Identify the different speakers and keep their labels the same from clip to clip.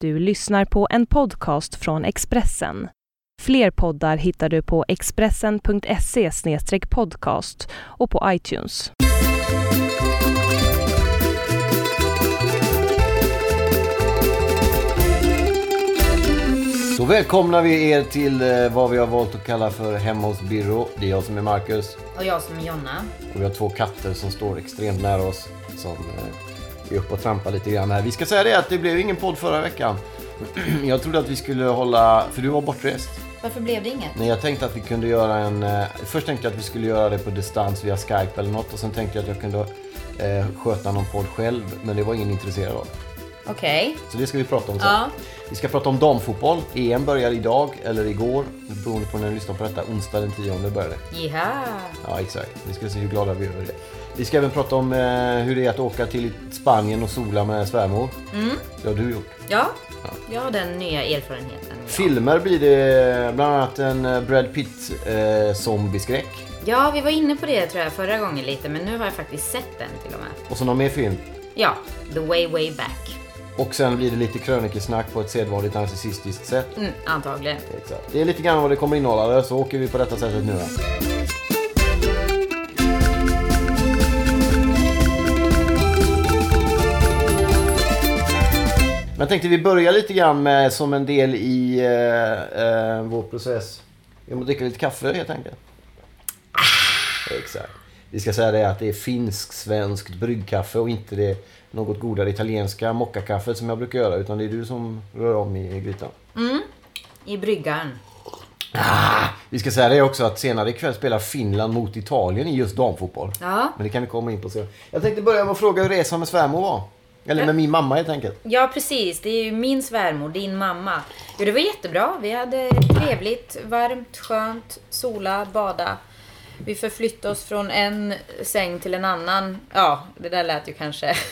Speaker 1: du lyssnar på en podcast från Expressen. Fler poddar hittar du på expressen.se podcast och på iTunes.
Speaker 2: Då välkomnar vi er till eh, vad vi har valt att kalla för Hemma hos Birro. Det är jag som är Marcus
Speaker 3: Och jag som är Jonna.
Speaker 2: och vi har två katter som står extremt nära oss som eh, är uppe och trampar lite grann här. Vi ska säga det att det blev ingen podd förra veckan. Jag trodde att vi skulle hålla, för du var bortrest.
Speaker 3: Varför blev det inget?
Speaker 2: Nej, jag tänkte att vi kunde göra en... Eh, först tänkte jag att vi skulle göra det på distans via Skype eller något och sen tänkte jag att jag kunde eh, sköta någon podd själv men det var ingen intresserad av.
Speaker 3: Okej.
Speaker 2: Så det ska vi prata om sen.
Speaker 3: Ja.
Speaker 2: Vi ska prata om damfotboll. EM börjar idag, eller igår, beroende på när ni lyssnar på detta. Onsdag den 10 börjar det.
Speaker 3: Jaha.
Speaker 2: Ja, exakt. Vi ska se hur glada vi är över det. Vi ska även prata om eh, hur det är att åka till Spanien och sola med svärmor.
Speaker 3: Mm.
Speaker 2: Det har du gjort.
Speaker 3: Ja. Jag har den nya erfarenheten.
Speaker 2: Filmer blir det bland annat en eh, Brad Pitt eh, zombieskräck.
Speaker 3: Ja, vi var inne på det tror jag förra gången lite, men nu har jag faktiskt sett den till och med.
Speaker 2: Och så någon mer film.
Speaker 3: Ja, The Way Way Back.
Speaker 2: Och sen blir det lite krönikesnack på ett sedvanligt narcissistiskt sätt.
Speaker 3: Mm, antagligen.
Speaker 2: Exakt. Det är lite grann vad det kommer innehålla, så åker vi på detta sättet nu. då. Men jag tänkte vi börjar lite grann med som en del i eh, eh, vår process. Vi måste dricka lite kaffe helt enkelt. Exakt. Vi ska säga det att det är finsk-svenskt bryggkaffe och inte det något godare italienska mockakaffet som jag brukar göra. Utan det är du som rör om i grytan.
Speaker 3: I bryggan.
Speaker 2: Vi ska säga det också att senare ikväll spelar Finland mot Italien i just damfotboll.
Speaker 3: Ja.
Speaker 2: Men det kan vi komma in på sen. Jag tänkte börja med att fråga hur resan med svärmor var. Eller med min mamma helt enkelt.
Speaker 3: Ja, precis. Det är ju min svärmor, din mamma. Jo, det var jättebra. Vi hade trevligt, varmt, skönt, sola, bada. Vi förflyttade oss från en säng till en annan. Ja, det där lät ju kanske...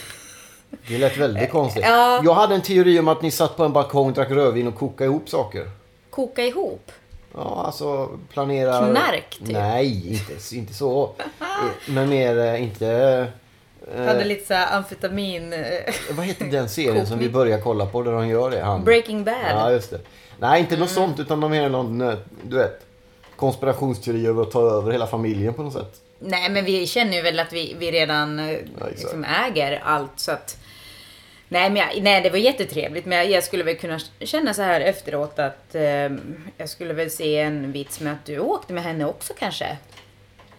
Speaker 2: Det lät väldigt konstigt.
Speaker 3: Eh, Ja.
Speaker 2: Jag hade en teori om att ni satt på en balkong, drack rödvin och kokade ihop saker.
Speaker 3: Koka ihop.
Speaker 2: Ja, alltså planera...
Speaker 3: Knark, typ.
Speaker 2: Nej, inte, inte så. Eh, Men mer eh, inte... eh,
Speaker 3: Jag hade lite såhär amfetamin... eh,
Speaker 2: Vad heter den serien som vi börjar kolla på där de gör det? Han.
Speaker 3: Breaking Bad.
Speaker 2: Ja, just det. Nej, inte något
Speaker 3: Mm.
Speaker 2: sånt utan de är någon, eh, du vet, konspirationsteori över att ta över hela familjen på något sätt.
Speaker 3: Nej, men vi känner ju väl att vi, vi redan eh,
Speaker 2: exakt.
Speaker 3: liksom äger allt så att... Nej, men jag, nej, det var jättetrevligt, men jag, jag skulle väl kunna känna så här efteråt att eh, jag skulle väl se en vits med att du åkte med henne också kanske.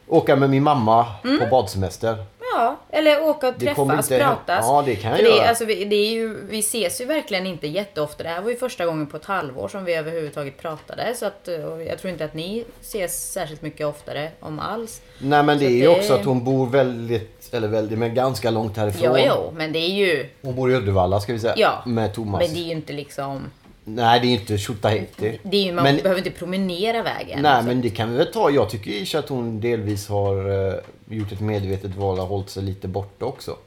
Speaker 2: Åka med min mamma
Speaker 3: Mm.
Speaker 2: på badsemester.
Speaker 3: Ja, eller åka och
Speaker 2: Det kommer
Speaker 3: träffas,
Speaker 2: inte hä-
Speaker 3: pratas.
Speaker 2: Ja, det kan jag
Speaker 3: För
Speaker 2: göra.
Speaker 3: är, alltså, vi, det är ju, vi ses ju verkligen inte jätteofta. Det här var ju första gången på ett halvår som vi överhuvudtaget pratade. Så att, eh, och jag tror inte att ni ses särskilt mycket oftare, om alls.
Speaker 2: Nej men det är ju
Speaker 3: det-
Speaker 2: också att hon bor väldigt, eller väldigt, men ganska långt
Speaker 3: Jo,
Speaker 2: härifrån.
Speaker 3: jo, men det är ju...
Speaker 2: Hon bor i Uddevalla ska vi säga.
Speaker 3: Ja.
Speaker 2: Med Thomas.
Speaker 3: Men det är ju inte liksom...
Speaker 2: Nej det är inte Tjotahejti.
Speaker 3: Det är ju, man
Speaker 2: Men-
Speaker 3: behöver inte promenera vägen.
Speaker 2: Nej
Speaker 3: Så-
Speaker 2: men det kan vi väl ta. Jag tycker ju att hon delvis har eh, gjort ett medvetet val och hållit sig lite borta också.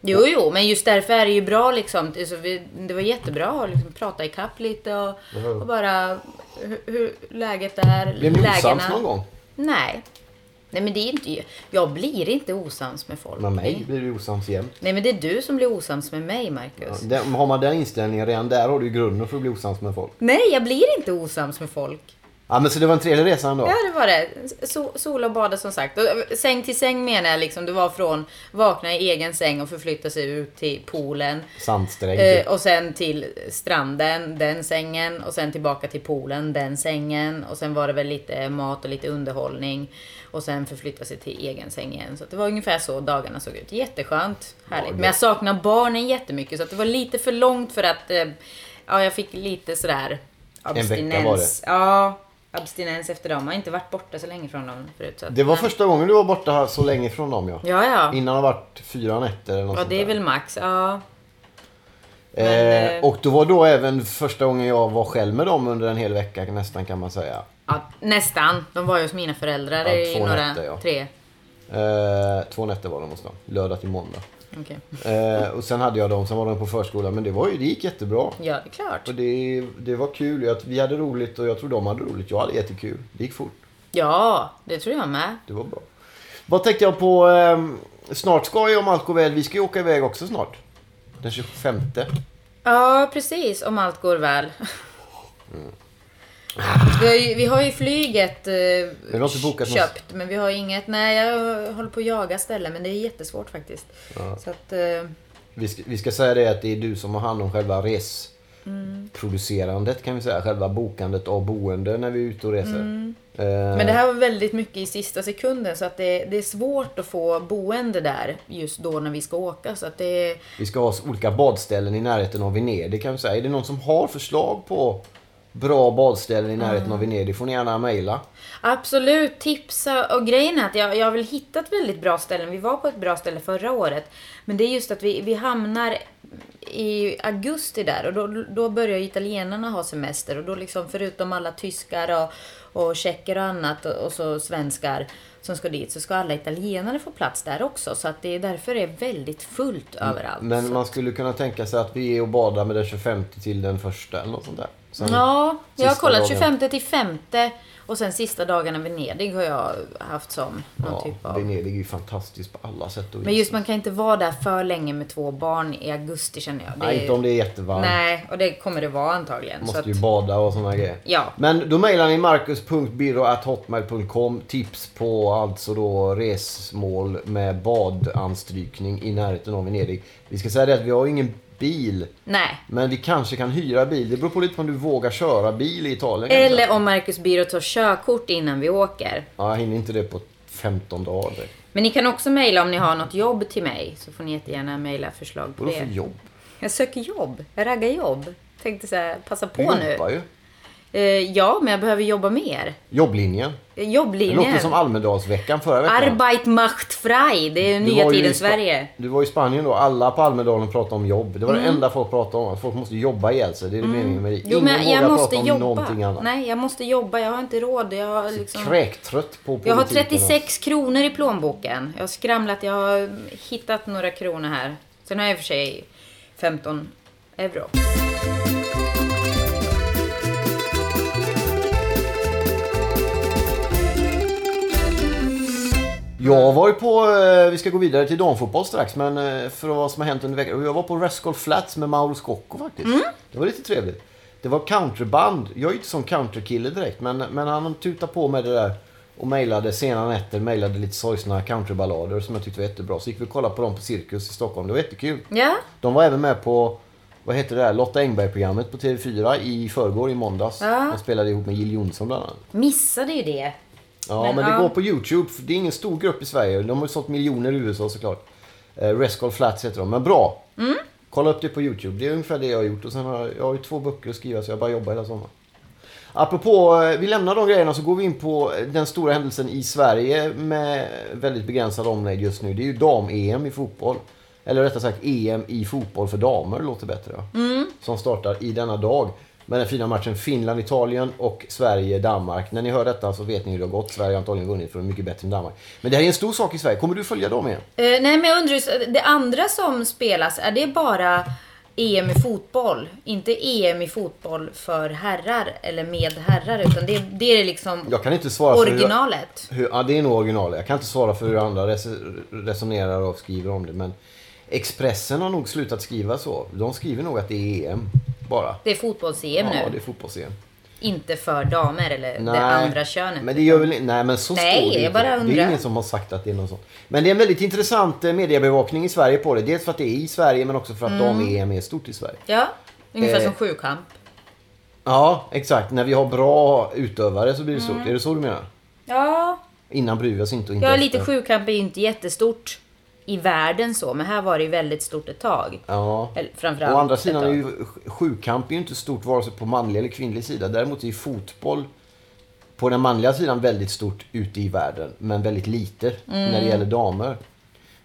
Speaker 3: Jo, jo, men just därför är det ju bra liksom. Alltså, vi, det var jättebra att liksom, prata i kapp lite och, och bara hur, hur läget är.
Speaker 2: Blev ni
Speaker 3: lägena.
Speaker 2: osams någon gång?
Speaker 3: Nej. Nej, men det är inte... Jag blir inte osams med folk.
Speaker 2: Med mig blir du osams jämt.
Speaker 3: Nej, men det är du som blir osams med mig, Marcus.
Speaker 2: Den, har man den inställningen redan där har du ju grunden för att bli osams med folk.
Speaker 3: Nej, jag blir inte osams med folk.
Speaker 2: Ja men så det var en trevlig resa ändå.
Speaker 3: Ja, det var det. So- Sola och bada som sagt. Och eh, säng till säng menar jag liksom. Det var från vakna i egen säng och förflytta sig ut till poolen.
Speaker 2: Sandsträng.
Speaker 3: Eh,
Speaker 2: typ.
Speaker 3: och sen till stranden, den sängen. Och sen tillbaka till poolen, den sängen. Och sen var det väl lite mat och lite underhållning. Och sen förflytta sig till egen säng igen. Så att det var ungefär så dagarna såg ut. Jätteskönt. Härligt.
Speaker 2: Ja, det-
Speaker 3: Men jag saknar barnen jättemycket. Så att det var lite för långt för att... Eh, ja, jag fick lite sådär...
Speaker 2: vecka var
Speaker 3: Abstinens.
Speaker 2: det.
Speaker 3: Ja, abstinens efter dem. Jag har inte varit borta så länge från dem förut. Så att,
Speaker 2: Det var
Speaker 3: men-
Speaker 2: första gången du var borta här så länge från dem ja.
Speaker 3: Ja, ja.
Speaker 2: Innan har det varit fyra nätter eller något
Speaker 3: Ja,
Speaker 2: sånt
Speaker 3: det
Speaker 2: där.
Speaker 3: är väl max. Ja.
Speaker 2: Eh,
Speaker 3: eh,
Speaker 2: och då var då även första gången jag var själv med dem under en hel vecka nästan kan man säga.
Speaker 3: ja. Nästan. De var ju hos mina föräldrar
Speaker 2: Ja,
Speaker 3: i
Speaker 2: två
Speaker 3: några...
Speaker 2: nätter, ja.
Speaker 3: Tre.
Speaker 2: Eh, två nätter var de hos dem. Lördag till måndag.
Speaker 3: Okej.
Speaker 2: Eh, och sen hade jag dem, sen var de på förskolan. Men det, var ju, det gick jättebra.
Speaker 3: Ja, det är klart.
Speaker 2: Och det, det var kul. Jag, vi hade roligt och jag tror de hade roligt. Jag hade jättekul. Det gick fort.
Speaker 3: Ja, det tror jag med.
Speaker 2: Det var bra. Vad tänkte jag på? ehm, snart ska jag om allt går väl. Vi ska ju åka iväg också snart. Den 25.
Speaker 3: Ja, precis. Om allt går väl. Vi har ju, vi har ju flyget eh,
Speaker 2: vi har inte bokat något.
Speaker 3: köpt, men vi har inget. Nej, jag håller på att jaga ställen, men det är jättesvårt faktiskt. Så att, eh,
Speaker 2: Vi ska, vi ska säga det att det är du som har hand om själva resproducerandet kan vi säga. Själva bokandet av boende när vi är ute och reser. Eh,
Speaker 3: Mm. men det här var väldigt mycket i sista sekunden, så att det, det är svårt att få boende där just då när vi ska åka. Så att det,
Speaker 2: Vi ska ha olika badställen i närheten av Venedig kan vi säga. Är det någon som har förslag på bra badställen i närheten
Speaker 3: Mm.
Speaker 2: av Venedig får ni gärna mejla.
Speaker 3: Absolut, tipsa. Och grejen är att jag, jag har väl hittat väldigt bra ställen. Vi var på ett bra ställe förra året. Men det är just att vi, vi hamnar i augusti där och då, då börjar ju italienarna ha semester. Och då liksom förutom alla tyskar och, och tjecker och annat och, och så svenskar som ska dit så ska alla italienare få plats där också. Så att det är därför det är väldigt fullt överallt.
Speaker 2: Mm, Men man skulle kunna tänka sig att vi är och badar med den 25 till den första eller något sånt där. Sen-
Speaker 3: Ja, jag har
Speaker 2: Sista dagen.
Speaker 3: kollat 25 till 5 och sen sista dagarna Venedig har jag haft som någon
Speaker 2: ja,
Speaker 3: typ av...
Speaker 2: Venedig är ju fantastiskt på alla sätt och vis.
Speaker 3: Men just man kan inte vara där för länge med två barn i augusti känner jag.
Speaker 2: Nej, inte om det är jättevarmt.
Speaker 3: Nej, och det kommer det vara antagligen. Så
Speaker 2: Måste
Speaker 3: att,
Speaker 2: ju bada och såna grejer.
Speaker 3: Ja.
Speaker 2: Men då mejlar ni marcus.biro.hotmail.com tips på alltså då resmål med badanstrykning i närheten av Venedig. Vi ska säga det att vi har ju ingen bil.
Speaker 3: nej.
Speaker 2: Men vi kanske kan hyra bil. Det beror på lite på om du vågar köra bil i Italien. kanske.
Speaker 3: Eller om Marcus Byrå tar körkort innan vi åker.
Speaker 2: Ja, jag hinner inte det på 15 dagar. direkt.
Speaker 3: Men ni kan också mejla om ni har något jobb till mig. Så får ni jättegärna mejla förslag på
Speaker 2: Vadå för
Speaker 3: det.
Speaker 2: jobb?
Speaker 3: Jag söker jobb. Jag raggar jobb. Tänkte så här, passa
Speaker 2: Du
Speaker 3: på nu.
Speaker 2: jobbar ju.
Speaker 3: Eh, ja, men jag behöver jobba mer.
Speaker 2: Jobblinjen.
Speaker 3: Eh,
Speaker 2: Det
Speaker 3: Jobblinjen.
Speaker 2: låter som Almedalsveckan förra veckan.
Speaker 3: Arbeit macht frei. Det är ju
Speaker 2: Du
Speaker 3: nya
Speaker 2: var ju i
Speaker 3: tiden
Speaker 2: Spa-
Speaker 3: Sverige. Mm.
Speaker 2: Du var i Spanien då. Alla på Almedalen pratade om jobb. Det var det enda folk pratade om. Att folk måste jobba ihjäl sig. Det är det meningen med det.
Speaker 3: Jo, men
Speaker 2: Ingen
Speaker 3: jag
Speaker 2: vågar
Speaker 3: måste
Speaker 2: prata om
Speaker 3: jobba.
Speaker 2: någonting annat.
Speaker 3: Nej, jag måste jobba. Jag har inte råd. Jag har, liksom...
Speaker 2: Kräktrött på
Speaker 3: jag har
Speaker 2: politiken. alltså.
Speaker 3: 36 kronor i plånboken. Jag har skramlat. Jag har hittat några kronor här. Sen har jag i och för sig 15 euro.
Speaker 2: Jag var ju på, eh, vi ska gå vidare till damfotboll strax, men eh, för vad som har hänt under veckan. Jag var på Rascal Flats med Mauro Scocco faktiskt. Det var lite trevligt. Det var countryband. Jag är ju inte sån countrykille direkt, men, men han tutade på med det där. Och mejlade sena nätter, mejlade lite sorgsna countryballader som jag tyckte var jättebra. Så gick vi och kollade på dem på Cirkus i Stockholm. Det var jättekul.
Speaker 3: Ja,
Speaker 2: De var även med på, vad heter det där, Lotta Engberg-programmet på TV4 i förrgår, i måndags.
Speaker 3: Ja.
Speaker 2: De spelade ihop med Jill Johnson bland annat.
Speaker 3: missade ju det.
Speaker 2: Ja, men,
Speaker 3: Men,
Speaker 2: det
Speaker 3: ja.
Speaker 2: går på Youtube. för Det är ingen stor grupp i Sverige. De har ju sålt miljoner i USA såklart. Eh, Rescall Flats heter de. Men bra! Kolla upp det på Youtube. Det är ungefär det jag har gjort. Och sen har jag, jag har ju två böcker att skriva så jag bara jobbar hela sommaren. Apropå, eh, vi lämnar de grejerna så går vi in på eh, den stora händelsen i Sverige med väldigt begränsad omnejd just nu. Det är ju dam-EM i fotboll. Eller rättare sagt EM i fotboll för damer låter bättre. va? Som startar i denna dag. Med den fina matchen Finland-Italien och Sverige-Danmark. När ni hör detta så vet ni hur det har gått. Sverige har antagligen vunnit för de är mycket bättre än Danmark. Men det här är en stor sak i Sverige. Kommer du följa dem igen?
Speaker 3: Eh, nej, men jag undrar, ju, så- det andra som spelas, är det bara EM i fotboll? Inte EM i fotboll för herrar eller med herrar, utan det, det är liksom
Speaker 2: alltså, Jag kan inte svara för hur-
Speaker 3: originalet.
Speaker 2: Hur, ja, det är nog originalet. Jag kan inte svara för hur andra res- resonerar och skriver om det. Men Expressen har nog slutat skriva så. De skriver nog att det är EM bara.
Speaker 3: Det är fotbolls-EM
Speaker 2: ja,
Speaker 3: E nu.
Speaker 2: det är fotbolls-EM.
Speaker 3: Inte för damer eller
Speaker 2: Nej,
Speaker 3: det andra könet.
Speaker 2: Men det gör väl Nej, men så
Speaker 3: Nej,
Speaker 2: står det
Speaker 3: jag
Speaker 2: inte.
Speaker 3: bara
Speaker 2: Det är
Speaker 3: undrar.
Speaker 2: ingen som har sagt att det är någon sån. Men det är en väldigt intressant eh, mediebevakning i Sverige på det. Dels för att det är i Sverige men också för att
Speaker 3: Mm.
Speaker 2: dam-EM är stort i Sverige.
Speaker 3: Ja, ungefär
Speaker 2: Eh,
Speaker 3: som sjukamp.
Speaker 2: Ja, exakt. När vi har bra utövare så blir det
Speaker 3: Mm.
Speaker 2: stort. Är det så du menar?
Speaker 3: Ja,
Speaker 2: Innan bryr vi oss inte och inte
Speaker 3: ja
Speaker 2: efter.
Speaker 3: lite sjukamp är ju inte jättestort i världen så, men här var det ju väldigt stort ett tag.
Speaker 2: Ja.
Speaker 3: Eller framförallt
Speaker 2: Å andra sidan
Speaker 3: ett
Speaker 2: är
Speaker 3: tag.
Speaker 2: ju sj- sjukamp är ju inte stort vare sig på manlig eller kvinnlig sida. Däremot är ju fotboll på den manliga sidan väldigt stort ute i världen. Men väldigt lite när
Speaker 3: Mm.
Speaker 2: det gäller damer.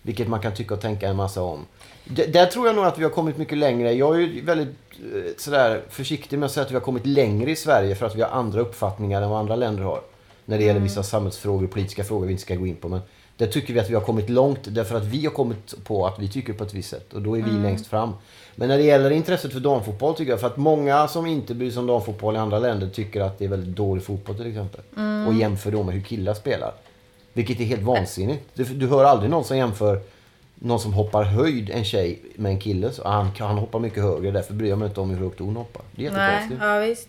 Speaker 2: Vilket man kan tycka och tänka en massa om. D- där tror jag nog att vi har kommit mycket längre. Jag är ju väldigt eh, sådär, försiktig med att säga att vi har kommit längre i Sverige för att vi har andra uppfattningar än vad andra länder har. När det gäller vissa samhällsfrågor och politiska frågor vi inte ska gå in på. Men där tycker vi att vi har kommit långt därför att vi har kommit på att vi tycker på ett visst sätt. Och då är vi längst fram. Men när det gäller intresset för damfotboll tycker jag, för att många som inte bryr sig om damfotboll i andra länder tycker att det är väldigt dålig fotboll till exempel. Och jämför då med hur killar spelar. Vilket är helt vansinnigt. Du, du hör aldrig någon som jämför någon som hoppar höjd, en tjej med en kille. Så han, kan- han hoppar mycket högre, därför bryr jag mig inte om hur högt hon hoppar. Det är
Speaker 3: Nej,
Speaker 2: jättekonstigt.
Speaker 3: ja visst.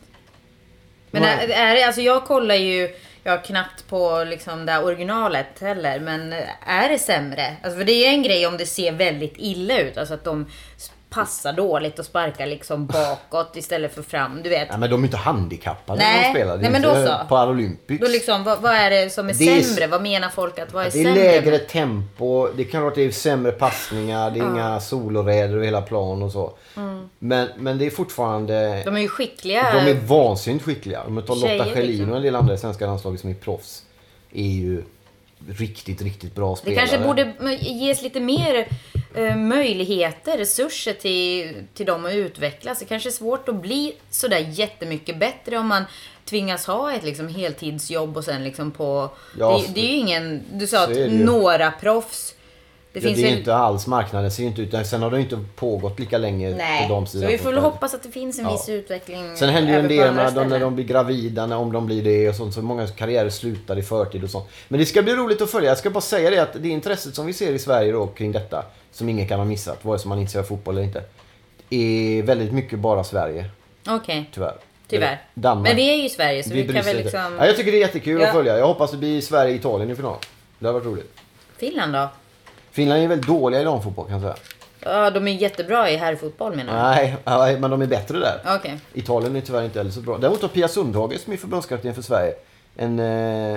Speaker 3: Men
Speaker 2: Nej.
Speaker 3: är, är det, alltså jag kollar ju jag knappt på liksom det här originalet heller, men är det sämre? Alltså för det är ju en grej om det ser väldigt illa ut, alltså att de s- passar dåligt och sparkar liksom bakåt istället för fram, du vet.
Speaker 2: Nej, men de är inte handikappade när
Speaker 3: Nej.
Speaker 2: de spelar. Det är
Speaker 3: Nej, men
Speaker 2: inte
Speaker 3: då så.
Speaker 2: På Paralympics.
Speaker 3: Då liksom, vad, vad är det som är
Speaker 2: Det är s-
Speaker 3: sämre? Vad menar folk att vad är
Speaker 2: Det är
Speaker 3: sämre?
Speaker 2: lägre tempo, det kan vara att det är sämre passningar, det är inga soloräder över hela plan och så. Men, men det är fortfarande...
Speaker 3: Mm. De är ju skickliga.
Speaker 2: De är vansinnigt skickliga. Om man tar Lotta
Speaker 3: Tjejer,
Speaker 2: Schelin
Speaker 3: liksom.
Speaker 2: och en del andra i svenska landslaget som är proffs. Är ju riktigt, riktigt bra
Speaker 3: Det
Speaker 2: spelare.
Speaker 3: kanske borde m- ges lite mer eh, möjligheter, resurser till, till dem att utvecklas. Det kanske är svårt att bli sådär jättemycket bättre om man tvingas ha ett liksom heltidsjobb och sen liksom på...
Speaker 2: Ja,
Speaker 3: det, det är ju ingen... Du sa
Speaker 2: så
Speaker 3: att
Speaker 2: är det ju.
Speaker 3: några proffs. Det
Speaker 2: Det, ja,
Speaker 3: finns
Speaker 2: det är
Speaker 3: väl...
Speaker 2: inte alls marknaden ser ju inte ut. Sen har det ju inte pågått lika länge
Speaker 3: Nej,
Speaker 2: på de
Speaker 3: så
Speaker 2: sidorna.
Speaker 3: vi
Speaker 2: som
Speaker 3: får väl
Speaker 2: spelar.
Speaker 3: hoppas att det finns en
Speaker 2: Ja.
Speaker 3: viss utveckling.
Speaker 2: Sen händer ju en
Speaker 3: även på
Speaker 2: del
Speaker 3: andra
Speaker 2: när de, när
Speaker 3: ställen.
Speaker 2: de blir gravida, när, om de blir det och sånt. Så många karriärer slutar i förtid och sånt. Men det ska bli roligt att följa. Jag ska bara säga det att det intresset som vi ser i Sverige då kring detta, som ingen kan ha missat, vare sig man är intresserad av fotboll eller inte, är väldigt mycket bara Sverige,
Speaker 3: Okej,
Speaker 2: tyvärr.
Speaker 3: tyvärr.
Speaker 2: Eller Danmark.
Speaker 3: Men vi är ju i Sverige så
Speaker 2: Vi
Speaker 3: vi,
Speaker 2: bryr
Speaker 3: kan
Speaker 2: sig
Speaker 3: väl
Speaker 2: inte.
Speaker 3: liksom...
Speaker 2: ja, jag tycker det är jättekul
Speaker 3: Ja.
Speaker 2: att följa. Jag hoppas det blir Sverige-Italien i final. Det har varit roligt.
Speaker 3: Finland då?
Speaker 2: Finland är väl dåliga i damfotboll kan jag säga.
Speaker 3: Ja, de är jättebra i herrfotboll menar jag.
Speaker 2: Nej, nej, men de är bättre där.
Speaker 3: Okej.
Speaker 2: Italien är tyvärr inte heller så bra. Däremot har Pia Sundhage, som är förbundskapten för Sverige, en eh,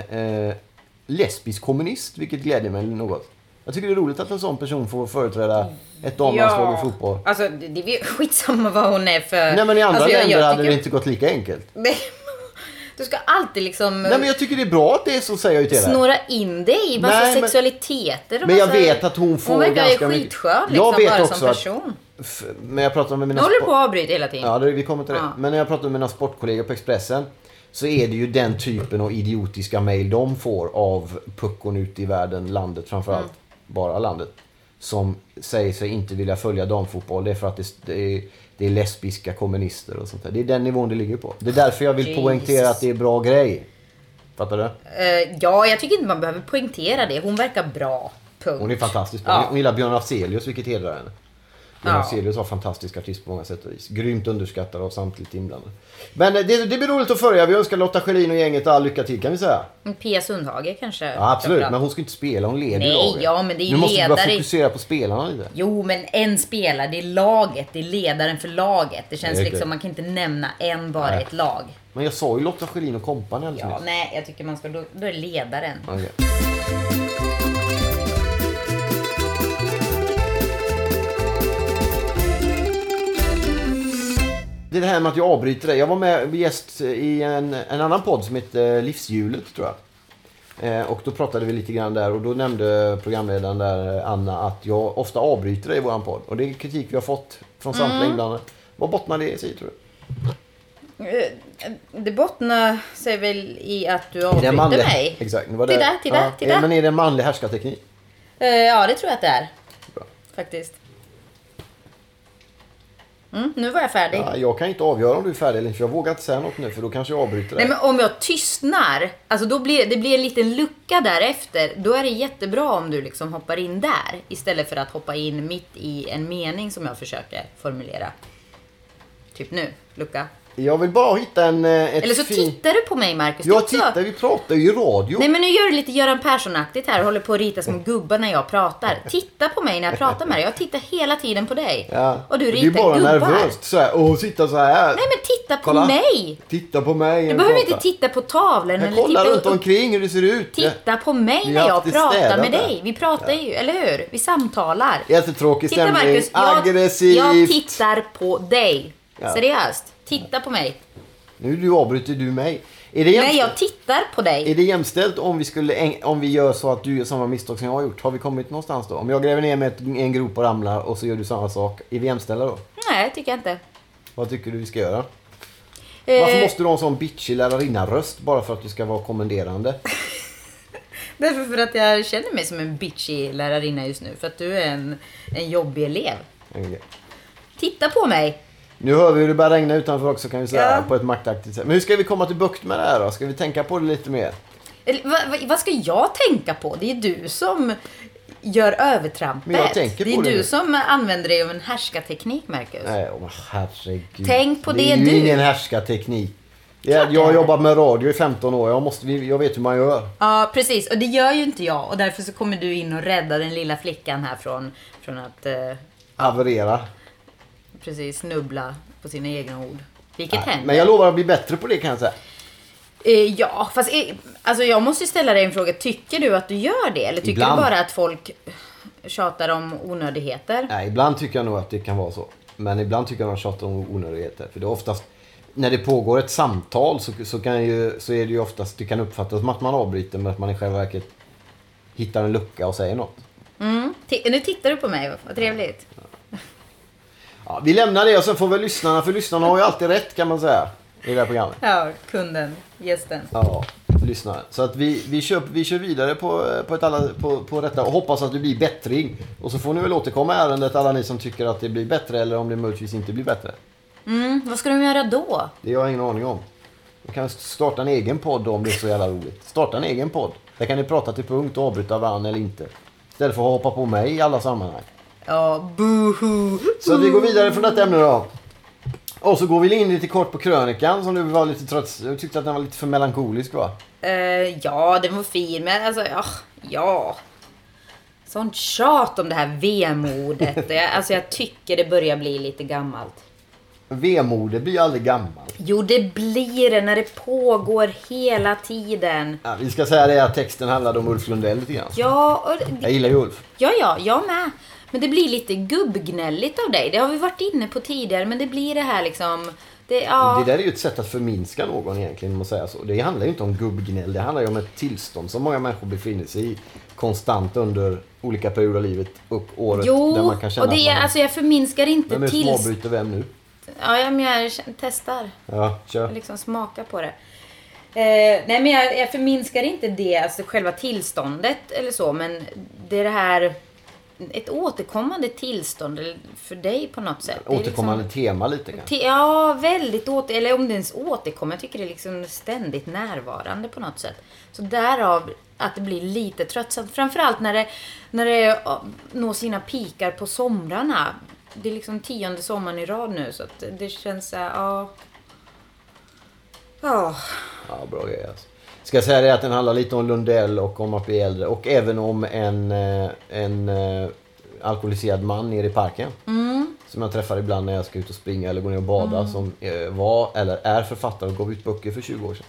Speaker 2: eh, lesbisk kommunist, vilket gläder mig något. Jag tycker det är roligt att en sån person får företräda ett damlandslag i fotboll.
Speaker 3: Alltså, det det är ju skitsamma vad hon är för...
Speaker 2: Nej men i andra
Speaker 3: alltså,
Speaker 2: länder hade det
Speaker 3: tycker-
Speaker 2: inte gått lika enkelt.
Speaker 3: Nej, Du ska alltid liksom
Speaker 2: Nej men jag tycker det är bra att det är så, säger jag ju till henne.
Speaker 3: snåra in dig i massa
Speaker 2: Nej, men-
Speaker 3: sexualiteter och
Speaker 2: Men jag
Speaker 3: massa...
Speaker 2: vet att hon får
Speaker 3: Alltså, Hon verkar ju
Speaker 2: ganska mycket-
Speaker 3: skitskön liksom,
Speaker 2: Jag vet
Speaker 3: bara
Speaker 2: också
Speaker 3: som
Speaker 2: att-
Speaker 3: person.
Speaker 2: F- Men jag pratar med
Speaker 3: Nu
Speaker 2: mina...
Speaker 3: håller
Speaker 2: spo-
Speaker 3: du på att avbryta hela tiden.
Speaker 2: Ja, det, vi kommer till det.
Speaker 3: Ja.
Speaker 2: Men när jag pratar med mina sportkollegor på Expressen så är det ju den typen av idiotiska mejl de får av puckon ute i världen, landet framförallt,
Speaker 3: Mm.
Speaker 2: bara landet, som säger sig inte vilja följa damfotboll. Det är för att det, det, är, det är lesbiska kommunister och sånt där. Det är den nivån det ligger på. Det är därför jag vill
Speaker 3: Jesus.
Speaker 2: poängtera att det är bra grej. Fattar du?
Speaker 3: Eh, ja, jag tycker inte man behöver poängtera det. Hon verkar bra. Punkt.
Speaker 2: Hon är fantastisk.
Speaker 3: Ja.
Speaker 2: Hon gillar Björn Afzelius, vilket hedrar henne. Björn
Speaker 3: Ja.
Speaker 2: Afzelius var en fantastisk artist på många sätt och vis. Grymt underskattad av samtidigt inblandade. Men eh, det, det blir roligt att följa. Vi önskar Lotta Schelin och gänget all lycka till kan vi säga.
Speaker 3: Men Pia Sundhage kanske.
Speaker 2: Ja, absolut, men
Speaker 3: framförallt.
Speaker 2: hon ska inte spela. Hon leder
Speaker 3: Nej,
Speaker 2: laget.
Speaker 3: ja, men det är ju
Speaker 2: Nu måste vi bara
Speaker 3: ledare i-
Speaker 2: fokusera på spelarna lite.
Speaker 3: Jo, men en spelare. Det är laget. Det är ledaren för laget. Det känns
Speaker 2: Det är
Speaker 3: liksom,
Speaker 2: klart.
Speaker 3: man kan inte nämna en bara i
Speaker 2: Nej.
Speaker 3: ett lag.
Speaker 2: Men jag sa ju Lotta Schelin och kompani alldeles
Speaker 3: Ja,
Speaker 2: nyss.
Speaker 3: nej, jag tycker man ska... Då, då är det ledaren.
Speaker 2: Okej. Det är det här med att jag avbryter dig. Jag var med gäst i en, en annan podd som heter Livshjulet tror jag. Eh, och då pratade vi lite grann där och då nämnde programledaren där eh, Anna att jag ofta avbryter dig i våran podd. Och det är kritik vi har fått från
Speaker 3: Mm.
Speaker 2: samtliga inblandade. Vad bottnar det i sig tror du?
Speaker 3: Eh, Det bottnar sig väl i att du
Speaker 2: Är det en
Speaker 3: avbryter
Speaker 2: manlig-
Speaker 3: mig.
Speaker 2: Exakt. Det var
Speaker 3: Titta,
Speaker 2: det.
Speaker 3: titta,
Speaker 2: Ja.
Speaker 3: titta.
Speaker 2: Eh, Men är det en manlig härskarteknik?
Speaker 3: Eh, Ja, det tror jag att det är.
Speaker 2: Bra.
Speaker 3: Faktiskt. Mm, nu var jag färdig.
Speaker 2: Ja, jag kan inte avgöra om du är färdig eller inte för jag vågar inte säga något nu för då kanske jag avbryter dig.
Speaker 3: Nej, men om jag tystnar, alltså då blir det blir en liten lucka därefter. Då är det jättebra om du liksom hoppar in där istället för att hoppa in mitt i en mening som jag försöker formulera. Typ nu, lucka.
Speaker 2: Jag vill bara hitta en... eh, Ett
Speaker 3: Eller så
Speaker 2: fin-
Speaker 3: tittar du på mig Marcus.
Speaker 2: Jag
Speaker 3: också.
Speaker 2: tittar, vi pratar ju i radio.
Speaker 3: Nej men nu gör du lite Göran Persson-aktigt här och håller på att rita små gubbar när jag pratar. Titta på mig när jag pratar med dig. Jag tittar hela tiden på dig.
Speaker 2: Ja.
Speaker 3: Och du
Speaker 2: det är
Speaker 3: ritar
Speaker 2: bara
Speaker 3: gubbar.
Speaker 2: nervöst så här. Åh, sitta så här.
Speaker 3: Nej men titta på
Speaker 2: Kolla.
Speaker 3: mig!
Speaker 2: Titta på mig.
Speaker 3: Du behöver inte titta på tavlan
Speaker 2: Jag
Speaker 3: eller
Speaker 2: kollar
Speaker 3: titta,
Speaker 2: runt omkring hur det ser ut.
Speaker 3: titta på mig
Speaker 2: Vi
Speaker 3: när
Speaker 2: har
Speaker 3: jag
Speaker 2: haft det
Speaker 3: pratar
Speaker 2: städat
Speaker 3: med
Speaker 2: här.
Speaker 3: dig. Vi pratar ju, eller hur? Vi samtalar.
Speaker 2: Jättetråkig
Speaker 3: Titta
Speaker 2: stämning.
Speaker 3: Marcus, jag,
Speaker 2: Aggressivt.
Speaker 3: jag tittar på dig.
Speaker 2: Ja.
Speaker 3: Seriöst. Titta på mig.
Speaker 2: Nu du avbryter du mig. Är det,
Speaker 3: Nej,
Speaker 2: jämställt?
Speaker 3: jag tittar på dig.
Speaker 2: är det jämställt om vi, skulle, äng- om vi gör så att du gör samma misstag som jag har gjort? Har vi kommit någonstans då? Om jag gräver ner mig i ett- en grop och ramlar och så gör du samma sak. Är vi jämställda då?
Speaker 3: Nej, tycker jag inte.
Speaker 2: Vad tycker du vi ska göra?
Speaker 3: Eh,
Speaker 2: Varför måste du ha en sån bitchig lärarinna-röst bara för att du ska vara kommenderande?
Speaker 3: Därför för att jag känner mig som en bitchig lärarinna just nu. För att du är en, en jobbig elev.
Speaker 2: Okej.
Speaker 3: Titta på mig!
Speaker 2: Nu hör vi hur det börjar regna utanför också kan vi säga
Speaker 3: Ja.
Speaker 2: på ett maktaktigt sätt. Men hur ska vi komma till bukt med det här då? Ska vi tänka på det lite mer?
Speaker 3: Eller, vad, vad, vad ska jag tänka på? Det är ju du som gör övertrampet.
Speaker 2: Men jag tänker
Speaker 3: det är
Speaker 2: på det
Speaker 3: du
Speaker 2: nu.
Speaker 3: som använder dig av en härskarteknik, Marcus.
Speaker 2: Nej, åh, herregud.
Speaker 3: Tänk på
Speaker 2: Det
Speaker 3: det
Speaker 2: är ju
Speaker 3: du-
Speaker 2: ingen härskarteknik. Jag, jag har jobbat med radio i 15 år. Jag, måste, vi- jag vet hur man gör.
Speaker 3: Ja, precis. Och det gör ju inte jag. Och därför så kommer du in och räddar den lilla flickan här från, från att eh,
Speaker 2: Haverera.
Speaker 3: precis snubbla på sina egna ord. Vilket händer.
Speaker 2: Men jag lovar att bli bättre på det kan jag säga.
Speaker 3: Eh, ja, fast eh, alltså jag måste ju ställa dig en fråga. Tycker du att du gör det? Eller tycker
Speaker 2: Ibland.
Speaker 3: du bara att folk tjatar om onödigheter?
Speaker 2: Nej, ibland tycker jag nog att det kan vara så. Men ibland tycker jag att de tjatar om onödigheter. För det är oftast, när det pågår ett samtal så, så, kan ju, så är det ju oftast, det kan uppfattas som att man avbryter men att man i själva verket hittar en lucka och säger något.
Speaker 3: Mm. Ti- Nu tittar du på mig, vad trevligt.
Speaker 2: Ja, vi lämnar det och sen får väl lyssnarna, för lyssnarna har ju alltid rätt kan man säga. I det här programmet.
Speaker 3: Ja, kunden, gästen.
Speaker 2: Ja, lyssnare. Så att vi, vi, kör, vi kör vidare på, på, ett alla, på, på detta och hoppas att det blir bättring. Och så får ni väl återkomma i ärendet alla ni som tycker att det blir bättre eller om det möjligtvis inte blir bättre.
Speaker 3: Mm, vad ska de göra då?
Speaker 2: Det har jag ingen aning om. Jag kan starta en egen podd om det är så jävla roligt. Starta en egen podd. Där kan ni prata till punkt och avbryta varandra eller inte. Istället för att hoppa på mig i alla sammanhang.
Speaker 3: Ja, boohoo.
Speaker 2: Så att vi går vidare från detta ämne då. Och så går vi in lite kort på krönikan som du var lite trött. Du tyckte att den var lite för melankolisk va?
Speaker 3: Eh, ja, den var fin, men alltså, ja. ja. Sånt tjat om det här vemodet. Jag- alltså jag tycker det börjar bli lite gammalt.
Speaker 2: Vemodet blir ju aldrig gammalt.
Speaker 3: Jo, det blir det när det pågår hela tiden.
Speaker 2: Ja, vi ska säga det att texten handlade om Ulf Lundell lite grann.
Speaker 3: Ja, och,
Speaker 2: Jag gillar ju Ulf.
Speaker 3: ja, ja, jag med. Men det blir lite gubbgnälligt av dig. Det har vi varit inne på tidigare, men det blir det här liksom... Det, ja,
Speaker 2: Det där är ju ett sätt att förminska någon egentligen, om man säger så. Det handlar ju inte om gubbgnäll, det handlar ju om ett tillstånd som många människor befinner sig i konstant under olika perioder av livet och året.
Speaker 3: jo,
Speaker 2: där man kan känna
Speaker 3: och det är,
Speaker 2: att man,
Speaker 3: alltså jag förminskar
Speaker 2: vem
Speaker 3: inte
Speaker 2: är det som
Speaker 3: tills...
Speaker 2: avbryter vem nu?
Speaker 3: Ja, ja, men jag k- testar.
Speaker 2: Ja,
Speaker 3: Jag
Speaker 2: kör.
Speaker 3: liksom smaka på det. Eh, nej, men jag, jag förminskar inte det, alltså själva tillståndet eller så, men det är det här... Ett återkommande tillstånd eller för dig på något sätt. Det är liksom-
Speaker 2: Återkommande tema lite kanske.
Speaker 3: Te- Ja, väldigt åter... Eller om det ens återkommer. Jag tycker det är liksom ständigt närvarande på något sätt. Så därav att det blir lite tröttsamt. Framförallt när det, när det ja, når sina pikar på somrarna. Det är liksom tionde sommaren i rad nu så att det känns så här, ja... Ja,
Speaker 2: Ja, bra grej alltså. Ska jag säga det att den handlar lite om Lundell och om att bli äldre och även om en, eh, en eh, alkoholiserad man nere i parken.
Speaker 3: Mm.
Speaker 2: Som jag träffar ibland när jag ska ut och springa eller gå ner och bada. Som eh, var eller är författare och gav ut böcker för 20 år sedan.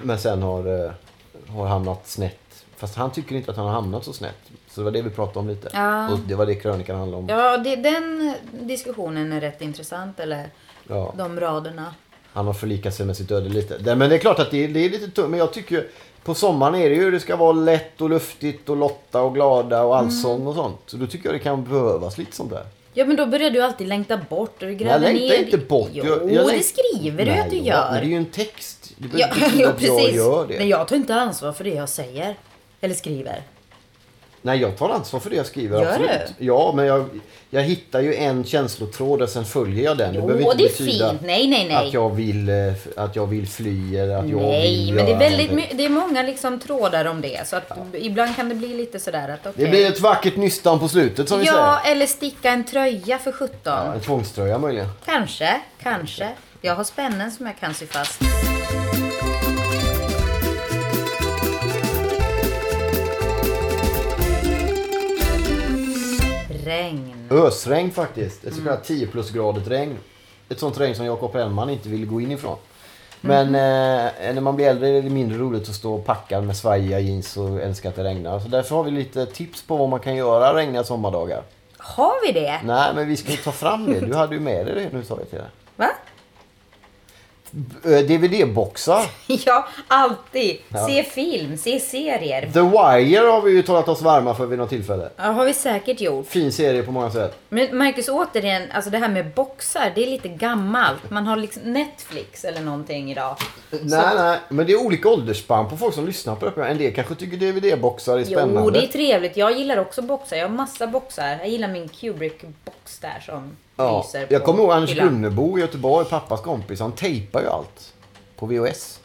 Speaker 2: Men sen har, eh, har hamnat snett. Fast han tycker inte att han har hamnat så snett. Så det var det vi pratade om lite.
Speaker 3: Ja.
Speaker 2: Och det var det krönikan handlade om.
Speaker 3: ja det, den diskussionen är rätt intressant. Eller
Speaker 2: Ja.
Speaker 3: de raderna.
Speaker 2: Han har förlikat sig med sitt öde lite. Det- Men det är klart att det är, det är lite tungt. Men jag tycker ju- på sommaren är det ju det ska vara lätt och luftigt och lotta och glada och allsång
Speaker 3: Mm.
Speaker 2: och sånt. Så då tycker jag det kan behövas lite sånt där.
Speaker 3: Ja men då börjar du alltid längta bort och du gräver
Speaker 2: Jag längtar
Speaker 3: ner.
Speaker 2: inte bort.
Speaker 3: Jo,
Speaker 2: jag, jag
Speaker 3: det
Speaker 2: längtar-
Speaker 3: skriver du
Speaker 2: Nej,
Speaker 3: att du
Speaker 2: jag-
Speaker 3: gör.
Speaker 2: Men det är ju en text. Det
Speaker 3: Ja,
Speaker 2: behöver inte betyda
Speaker 3: ja
Speaker 2: att jag
Speaker 3: precis.
Speaker 2: gör det.
Speaker 3: Men jag tar inte ansvar för det jag säger. Eller skriver.
Speaker 2: Nej, jag tar ansvar för det jag skriver.
Speaker 3: Gör
Speaker 2: absolut. Ja, men jag, jag hittar ju en känslotråd och sen följer jag den. det
Speaker 3: Jo,
Speaker 2: behöver inte
Speaker 3: det är
Speaker 2: betyda
Speaker 3: fint. Nej, nej, nej.
Speaker 2: Att jag vill, eh, f- att jag vill fly eller att jag
Speaker 3: Nej,
Speaker 2: vill
Speaker 3: men det är
Speaker 2: göra
Speaker 3: väldigt
Speaker 2: någonting.
Speaker 3: my- det är många liksom trådar om det. Så att ibland kan det bli lite sådär att okej.
Speaker 2: Det blir ett vackert nystan på slutet som vi säger.
Speaker 3: Ja, eller sticka en tröja för sjutton.
Speaker 2: En tvångströja möjligen.
Speaker 3: Kanske, kanske. Jag har spännen som jag kan sy fast. Regn.
Speaker 2: Ösregn faktiskt. Ett så kallat 10 plusgradigt regn. Ett sånt regn som Jakob Hellman inte vill gå in ifrån. Men eh, när man blir äldre är det mindre roligt att stå och packa med svajiga jeans och älska att det regnar. Så därför har vi lite tips på vad man kan göra regniga sommardagar.
Speaker 3: Har vi det?
Speaker 2: Nej, men vi ska ju ta fram det. Du hade ju med dig det nu sa jag till dig.
Speaker 3: Va?
Speaker 2: Eh, DVD-boxar.
Speaker 3: Ja, alltid.
Speaker 2: Ja.
Speaker 3: Se film, se serier.
Speaker 2: The Wire har vi ju talat oss varma för vid något tillfälle.
Speaker 3: Ja, har vi säkert gjort.
Speaker 2: Fin serie på många sätt.
Speaker 3: Men Marcus, återigen, alltså det här med boxar, det är lite gammalt. Man har liksom Netflix eller någonting idag.
Speaker 2: Nej, nej, men det är olika åldersspann på folk som lyssnar på det här programmet. En del kanske tycker DVD-boxar är spännande.
Speaker 3: Jo, det är trevligt. Jag gillar också boxar. Jag har massa boxar. Jag gillar min Kubrick-box där som
Speaker 2: Ja,
Speaker 3: lyser
Speaker 2: jag
Speaker 3: på
Speaker 2: kommer ihåg Anders
Speaker 3: hyllan.
Speaker 2: Gunnebo i Göteborg, pappas kompis. Han tejpar ju allt på VHS.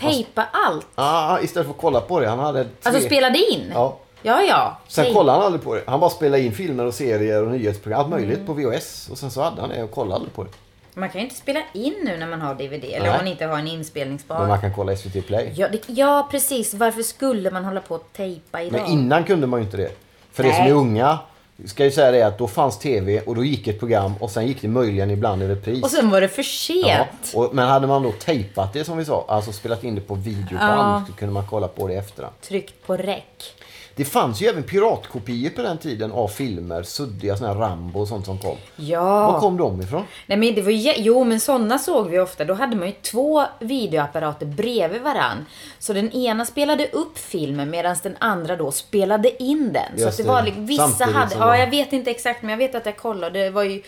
Speaker 3: Tejpa allt.
Speaker 2: Ah, istället för att kolla på det. Han hade tre...
Speaker 3: Alltså spelade in.
Speaker 2: Ja.
Speaker 3: Ja, ja.
Speaker 2: Sen
Speaker 3: Säg.
Speaker 2: kollade han aldrig på det. Han bara spelade in filmer och serier och nyhetsprogram. Allt
Speaker 3: Mm.
Speaker 2: möjligt på VHS. Och sen så hade han det och kollade aldrig på det.
Speaker 3: Man kan ju inte spela in nu när man har DVD. Eller om
Speaker 2: Nej.
Speaker 3: man inte har en inspelningsbar.
Speaker 2: Men man kan kolla SVT Play.
Speaker 3: Ja, det, ja, precis. Varför skulle man hålla på och tejpa idag?
Speaker 2: Men innan kunde man ju inte det. För det som
Speaker 3: Nej.
Speaker 2: är unga ska ju säga det att då fanns TV och då gick ett program och sen gick det möjligen ibland över pris.
Speaker 3: Och sen var det för
Speaker 2: Ja,
Speaker 3: sent.
Speaker 2: och, men hade man då tejpat det som vi sa, alltså spelat in det på videoband, så kunde man kolla på det i efterhand.
Speaker 3: Tryckt på räck.
Speaker 2: Det fanns ju även piratkopior på den tiden av filmer, suddiga såna här Rambo och sånt som kom.
Speaker 3: Ja.
Speaker 2: Var kom de ifrån?
Speaker 3: Nej, men det var ju, jo, men sådana såg vi ofta. Då hade man ju två videoapparater bredvid varann. Så den ena spelade upp filmen medan den andra då spelade in den. så
Speaker 2: Just
Speaker 3: att det
Speaker 2: det.
Speaker 3: var liksom, vissa
Speaker 2: Samtidigt
Speaker 3: hade...
Speaker 2: som
Speaker 3: Ja,
Speaker 2: de-
Speaker 3: jag vet inte exakt, men jag vet att jag kollade. Det var ju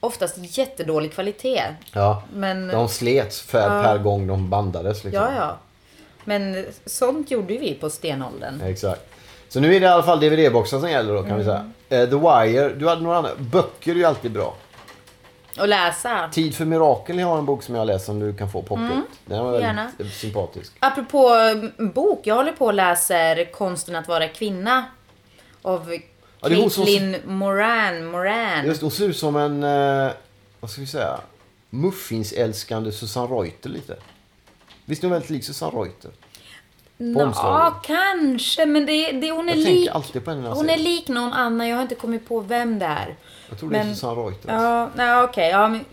Speaker 3: oftast jättedålig kvalitet.
Speaker 2: Ja,
Speaker 3: Men-
Speaker 2: de slets för, per gång de bandades. Liksom.
Speaker 3: Ja, ja. Men sånt gjorde ju vi på stenåldern.
Speaker 2: Exakt. Så nu är det i alla fall DVD-boxen som gäller då kan vi
Speaker 3: Mm.
Speaker 2: säga. Eh, The Wire, du hade några andra. Böcker är ju alltid bra.
Speaker 3: Och läsa.
Speaker 2: Tid för mirakel jag har en bok som jag har läst som du kan få pocket. Den var väldigt
Speaker 3: Mm, gärna.
Speaker 2: eh, sympatisk.
Speaker 3: Apropå eh, bok, jag håller på och läser Konsten att vara kvinna. Av
Speaker 2: Ja, det är hon som-
Speaker 3: Caitlin Moran. Moran.
Speaker 2: Just, hon ser ut som en, eh, vad ska vi säga, muffinsälskande Susanne Reuter lite. Visst är hon väldigt lik Susanne Reuter? på omslaget.
Speaker 3: Ja, kanske. Men det, det, hon, är
Speaker 2: Jag tänker
Speaker 3: lik,
Speaker 2: alltid på henne när jag
Speaker 3: hon
Speaker 2: ser
Speaker 3: är
Speaker 2: henne.
Speaker 3: lik någon annan. Jag har inte kommit på vem det är.
Speaker 2: Jag tror det är
Speaker 3: men-
Speaker 2: Susanne Reuter. alltså.
Speaker 3: Ja, nej, okej. Ja, men,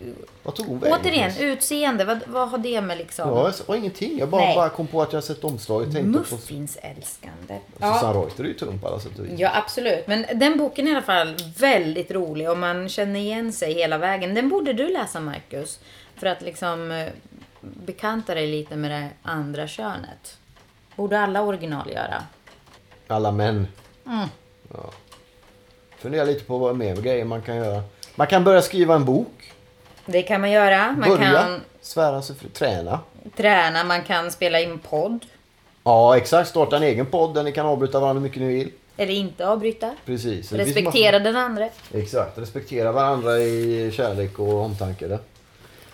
Speaker 2: Vad tog hon vägen?
Speaker 3: återigen, utseende. Vad, vad har det med liksom...
Speaker 2: Ja, jag sa ingenting. Jag bara,
Speaker 3: Nej.
Speaker 2: bara kom på att jag har sett omslaget och tänkte på
Speaker 3: Muffinsälskande. Ja,
Speaker 2: Susanne Reuter är ju tung på alla sätt och vis.
Speaker 3: ja, absolut. Men den boken är i alla fall väldigt rolig och man känner igen sig hela vägen. Den borde du läsa, Marcus. För att liksom eh, bekanta dig lite med det andra könet. Borde alla original göra.
Speaker 2: Alla män.
Speaker 3: Mm.
Speaker 2: Ja. Fundera lite på vad mer grejer man kan göra. Man kan börja skriva en bok.
Speaker 3: Det kan man göra. Man
Speaker 2: börja
Speaker 3: kan
Speaker 2: svära sig fri. Träna.
Speaker 3: träna, man kan spela in podd.
Speaker 2: Ja, exakt. Starta en egen podd där ni kan avbryta varandra hur mycket ni vill.
Speaker 3: Eller inte avbryta.
Speaker 2: Precis. Det finns
Speaker 3: Respektera den andra.
Speaker 2: massor- Exakt. Respektera varandra i kärlek och omtanke. Där.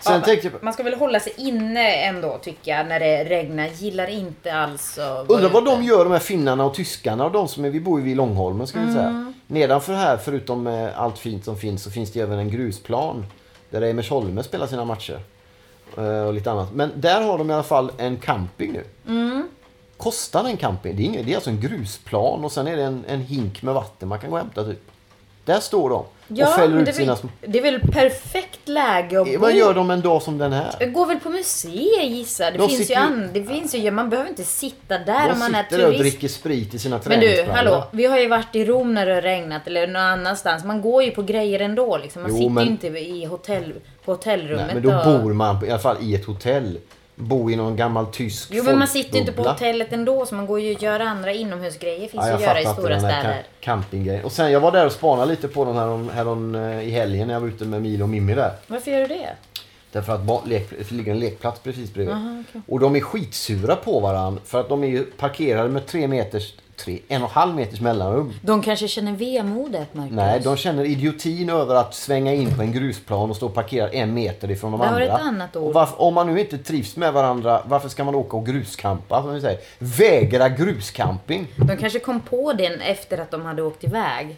Speaker 2: Sen tänkte jag på...
Speaker 3: Man ska väl hålla sig inne ändå tycker jag när det regnar. Gillar inte alls att vara
Speaker 2: Undrar vad
Speaker 3: ute.
Speaker 2: de gör, de här finnarna och tyskarna och de som är, vi bor ju vid Långholmen ska vi
Speaker 3: Mm.
Speaker 2: säga. Nedanför här, förutom eh, allt fint som finns, så finns det även en grusplan. Där Emersholme spelar sina matcher. Eh, Och lite annat. Men där har de i alla fall en camping nu.
Speaker 3: Mm.
Speaker 2: Kostar en camping? Det är, inget, det är alltså en grusplan och sen är det en, en hink med vatten man kan gå och hämta typ. Där står de och fäller
Speaker 3: men
Speaker 2: ut
Speaker 3: det, är
Speaker 2: sina
Speaker 3: väl,
Speaker 2: små... Eh,
Speaker 3: det är väl perfekt läge att bo.
Speaker 2: Vad gör de en dag som den här?
Speaker 3: Gå väl på museer gissar Det
Speaker 2: De
Speaker 3: finns ju
Speaker 2: sitter ju-
Speaker 3: an... Det finns ju... Man behöver inte sitta där
Speaker 2: De
Speaker 3: om man är
Speaker 2: sitter där och
Speaker 3: turist.
Speaker 2: dricker sprit i sina
Speaker 3: Men du,
Speaker 2: träningsbrallor.
Speaker 3: hallå. Vi har ju varit i Rom när det har regnat eller någon annanstans. Man går ju på grejer ändå liksom. Man
Speaker 2: Jo,
Speaker 3: sitter
Speaker 2: men-
Speaker 3: ju inte i hotell... på hotellrummet
Speaker 2: Nej, men då
Speaker 3: och...
Speaker 2: bor man i alla fall i ett hotell. Bo i någon gammal tysk
Speaker 3: Jo men man sitter ju inte på
Speaker 2: folkbubbla.
Speaker 3: hotellet ändå så man går ju att göra andra inomhusgrejer. finns
Speaker 2: Ja,
Speaker 3: ju
Speaker 2: jag
Speaker 3: att göra i
Speaker 2: fattar inte
Speaker 3: stora
Speaker 2: den här
Speaker 3: städer.
Speaker 2: cam- Campinggrejen. Och sen jag var där och spanade lite på dem härom, härom, eh, i helgen när jag var ute med Milo och Mimmi där.
Speaker 3: Varför gör du det?
Speaker 2: Därför att ba- lek, det ligger en lekplats precis bredvid. Och de är skitsura på varandra för att de är ju parkerade med tre meters, tre, en och en halv meters mellanrum.
Speaker 3: De kanske känner vemodet Marcus.
Speaker 2: Nej, de känner idiotin över att svänga in på en grusplan och stå parkerad en meter ifrån de
Speaker 3: Där har
Speaker 2: andra.
Speaker 3: du ett annat ord.
Speaker 2: Och varför, om man nu inte trivs med varandra, varför ska man åka och gruskampa? Som vi säger? Vägra gruscamping.
Speaker 3: De kanske kom på det efter att de hade åkt iväg.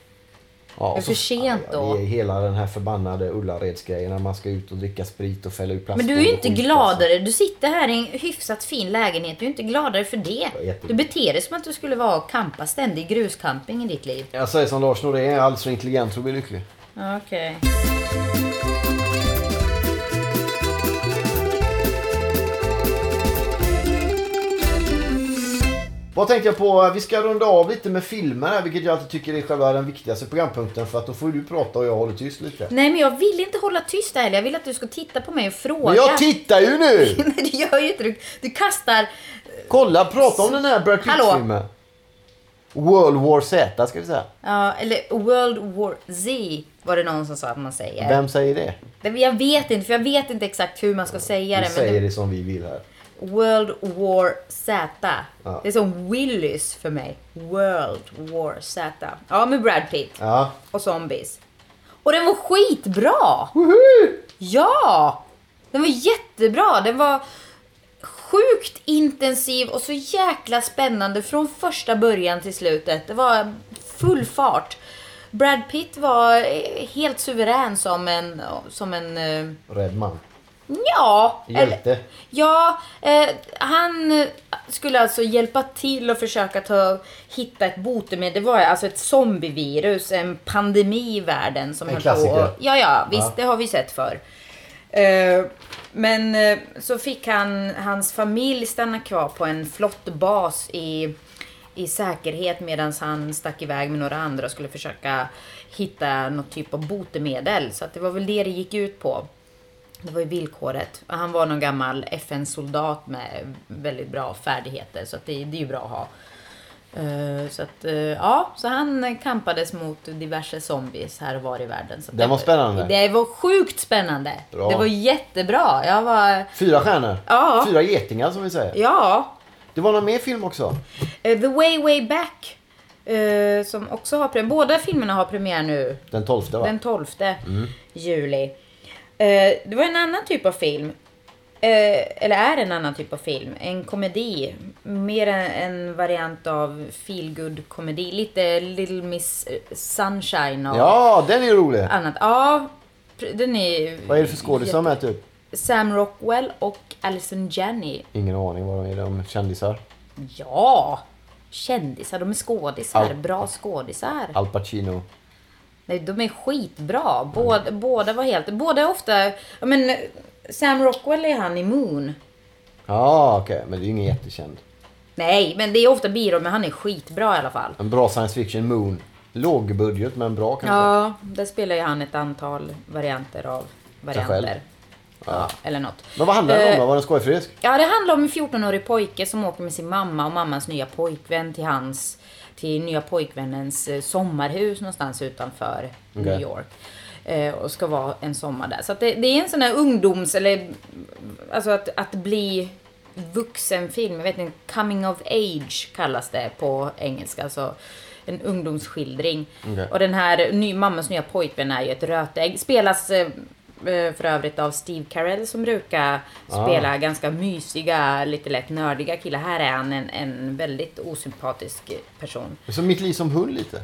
Speaker 2: Ja, och
Speaker 3: är för sent
Speaker 2: Ja,
Speaker 3: då.
Speaker 2: Det är hela den här förbannade Ullaredsgrejen när man ska ut och dricka sprit och fälla ut plast.
Speaker 3: Men du är ju
Speaker 2: och
Speaker 3: inte
Speaker 2: skit, alltså.
Speaker 3: gladare. Du sitter här i en hyfsat fin lägenhet. Du är inte gladare för det.
Speaker 2: är jättebra.
Speaker 3: Du beter dig som att du skulle vara och campa ständig gruscamping i ditt liv.
Speaker 2: Jag säger som Lars Norén, jag är alldeles för intelligent för att bli lycklig.
Speaker 3: Okej.
Speaker 2: Vad tänkte jag på? Vi ska runda av lite med filmer här, vilket jag alltid tycker är själva den viktigaste programpunkten för att då får du prata och jag håller tyst lite.
Speaker 3: Nej men jag vill inte hålla tyst heller. Jag vill att du ska titta på mig och fråga.
Speaker 2: Men jag tittar ju nu!
Speaker 3: Nej, du gör ju inte det. Du kastar...
Speaker 2: Kolla, prata om den här Brad
Speaker 3: Hallå?
Speaker 2: Pitt-filmen. World War Z ska vi säga.
Speaker 3: Ja, eller World War Z var det någon som sa att man säger.
Speaker 2: Vem säger det?
Speaker 3: Det- Jag vet inte, för jag vet inte exakt hur man ska säga
Speaker 2: Vi
Speaker 3: det. Men
Speaker 2: säger
Speaker 3: det
Speaker 2: det som vi vill här.
Speaker 3: World War Z.
Speaker 2: Ja.
Speaker 3: Det är som Willys för mig. World War Z. Ja, med Brad Pitt
Speaker 2: Ja.
Speaker 3: och zombies. Och den var skitbra! Ja! Den var jättebra. Den var sjukt intensiv och så jäkla spännande från första början till slutet. Det var full fart. Brad Pitt var eh, helt suverän som en, som en eh,
Speaker 2: Rädd man.
Speaker 3: ja, eller-
Speaker 2: Hjälte.
Speaker 3: Ja, eh, han eh, skulle alltså hjälpa till och försöka ta, hitta ett botemedel. Det var alltså ett zombievirus, en pandemi i världen som
Speaker 2: En
Speaker 3: höll på.
Speaker 2: klassiker.
Speaker 3: och- Ja, ja, visst,
Speaker 2: Ja.
Speaker 3: det har vi sett förr. Eh, men eh, så fick han, hans familj stanna kvar på en flottbas i, i säkerhet medan han stack iväg med några andra och skulle försöka hitta något typ av botemedel. Så att det var väl det det gick ut på. Det var ju villkoret. Och Han var någon gammal FN-soldat med väldigt bra färdigheter, så att det, det är ju bra att ha. Eh, Så att, eh, ja, så han kampades mot diverse zombies här och var i världen. Så att
Speaker 2: Den var spännande.
Speaker 3: Det var sjukt spännande.
Speaker 2: Bra.
Speaker 3: Det var jättebra. Jag var,
Speaker 2: Fyra stjärnor.
Speaker 3: Ja.
Speaker 2: Fyra getingar som vi säger.
Speaker 3: ja.
Speaker 2: Det var någon mer film också.
Speaker 3: Eh, The Way Way Back. eh, Som också har premiär. Båda filmerna har premiär nu.
Speaker 2: Den tolfte va?
Speaker 3: Den 12
Speaker 2: Mm.
Speaker 3: juli. Eh, det var en annan typ av film. Eh, eller är en annan typ av film. En komedi. Mer en, en variant av feel good komedi Lite Little Miss eh, Sunshine och
Speaker 2: Ja, den är ju rolig.
Speaker 3: annat. Ja, pr- den är
Speaker 2: Vad är det för skådisar med typ?
Speaker 3: Sam Rockwell och Allison Janney.
Speaker 2: Ingen aning vad de är. De är kändisar.
Speaker 3: Ja! Kändisar, de är skådisar.
Speaker 2: Al-
Speaker 3: Bra skådisar.
Speaker 2: Al Pacino.
Speaker 3: Nej, de är skitbra. Båda, båda var helt... Båda är ofta... Ja, men Sam Rockwell är han i Moon.
Speaker 2: Ja, okej. Men det är ju ingen jättekänd.
Speaker 3: Nej, men det är ofta biroll, men han är skitbra i alla fall.
Speaker 2: En bra science fiction, Moon. Lågbudget men bra kanske.
Speaker 3: Ja, Alltså, där spelar ju han ett antal varianter av
Speaker 2: själv.
Speaker 3: varianter. Ja, eller något.
Speaker 2: Men vad handlar det om
Speaker 3: Eh,
Speaker 2: då? Var den skojfrisk?
Speaker 3: Ja, det handlar om en 14-årig pojke som åker med sin mamma och mammans nya pojkvän till hans till nya pojkvännens eh, sommarhus någonstans utanför
Speaker 2: Okej.
Speaker 3: New York. Eh, och ska vara en sommar där. Så att det, det är en sån här ungdoms eller alltså att, att bli vuxenfilm. Jag vet inte, coming of age kallas det på engelska. Alltså en ungdomsskildring.
Speaker 2: Okej.
Speaker 3: Och den här ny, mammas nya pojkvän är ju ett rötägg. Spelas eh, eh, för övrigt av Steve Carell som brukar spela ganska mysiga, lite lätt nördiga killar. Här är han en, en väldigt osympatisk person.
Speaker 2: Så mitt liv som hund lite.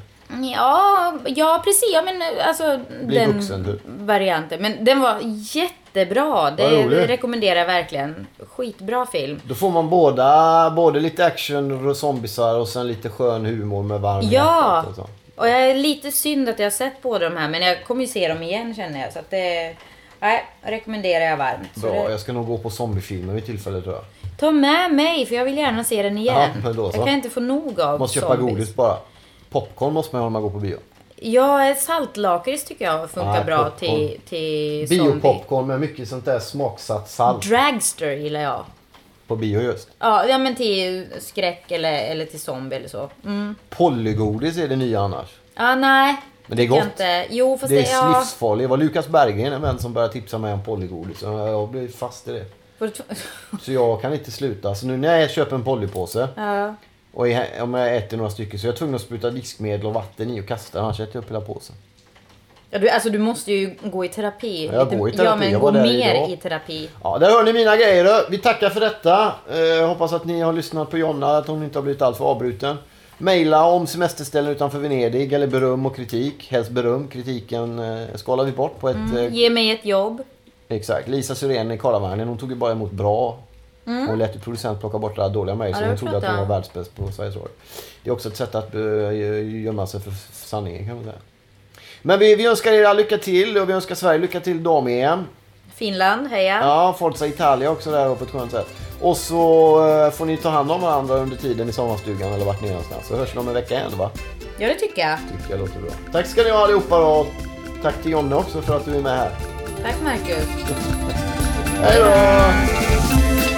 Speaker 3: Ja, ja precis. Ja, men eh, alltså
Speaker 2: Bli
Speaker 3: den
Speaker 2: vuxen, typ. du.
Speaker 3: varianten. Men den var jättebra. Det
Speaker 2: rolig.
Speaker 3: rekommenderar jag verkligen. Skitbra film.
Speaker 2: Då får man båda, både lite action och zombisar och sen lite skön humor med varm
Speaker 3: Ja!
Speaker 2: hjärtat och så.
Speaker 3: Och jag är lite synd att jag har sett båda de här, men jag kommer ju se dem igen känner jag. Så att det... Nej, rekommenderar jag varmt. Så
Speaker 2: Bra,
Speaker 3: det,
Speaker 2: jag ska nog gå på zombiefilmer vid tillfälle tror jag.
Speaker 3: ta med mig, för jag vill gärna se den igen.
Speaker 2: Ja, men då så.
Speaker 3: Jag kan inte få nog av
Speaker 2: Måste köpa
Speaker 3: zombies.
Speaker 2: godis bara. Popcorn måste man ha när man går på bio.
Speaker 3: Ja, ett saltlakrits tycker jag funkar
Speaker 2: Nej,
Speaker 3: bra
Speaker 2: popcorn.
Speaker 3: till, till zombie.
Speaker 2: Biopopcorn med mycket sånt där smaksatt salt
Speaker 3: Dragster gillar jag.
Speaker 2: på bio just.
Speaker 3: Ja, ja men till skräck eller, eller till zombie eller så. Mm.
Speaker 2: Pollygodis är det nya annars.
Speaker 3: Ja, nej.
Speaker 2: Men det är
Speaker 3: tycker jag
Speaker 2: gott.
Speaker 3: Inte. Jo, fast
Speaker 2: Det
Speaker 3: det,
Speaker 2: är
Speaker 3: ja,
Speaker 2: livsfarligt. Det var Lukas Berggren, en vän, som började tipsa mig om Pollygodis. Och Jag blev fast i det. Så jag kan inte sluta. Så nu när jag köper en Pollypåse
Speaker 3: ja.
Speaker 2: och är- om jag äter några stycken så är jag tvungen att spruta diskmedel och vatten i och kasta. Annars äter jag upp hela påsen.
Speaker 3: Ja, du, alltså, du måste ju gå i terapi.
Speaker 2: Ja, jag
Speaker 3: Lite-
Speaker 2: går i
Speaker 3: Ja,
Speaker 2: terapi.
Speaker 3: men
Speaker 2: Jag
Speaker 3: gå
Speaker 2: var där
Speaker 3: mer
Speaker 2: idag.
Speaker 3: i terapi.
Speaker 2: Ja, där hör ni mina grejer. då. Vi tackar för detta. Eh, hoppas att ni har lyssnat på Jonna, att hon inte har blivit alltför avbruten. Maila om semesterställen utanför Venedig eller beröm och kritik. Helst beröm. Kritiken eh, skalar vi bort på ett... Eh,
Speaker 3: Ge mig ett jobb.
Speaker 2: exakt. Lisa Syrén i Karlavagnen, hon tog ju bara emot bra. Hon lät ju producent plocka bort alla dåliga mejl
Speaker 3: Ja,
Speaker 2: så
Speaker 3: det
Speaker 2: hon
Speaker 3: har
Speaker 2: trodde att
Speaker 3: pratat
Speaker 2: hon var
Speaker 3: om.
Speaker 2: världsbäst på Sveriges Radio. Det är också ett sätt att eh, gömma sig för f- sanningen kan man säga. Men vi, vi önskar er all lycka till och vi önskar Sverige lycka till dam-EM.
Speaker 3: Finland, heja.
Speaker 2: Ja, Forza Italia också där på ett skönt sätt. Och så eh, får ni ta hand om varandra under tiden i sommarstugan eller vart ni är någonstans. Så hörs vi om en vecka igen va?
Speaker 3: Ja, det tycker jag.
Speaker 2: Tycker jag låter bra. Tack ska ni ha allihopa och tack till Jonna också för att du är med här.
Speaker 3: Tack, Marcus.
Speaker 2: Hej då!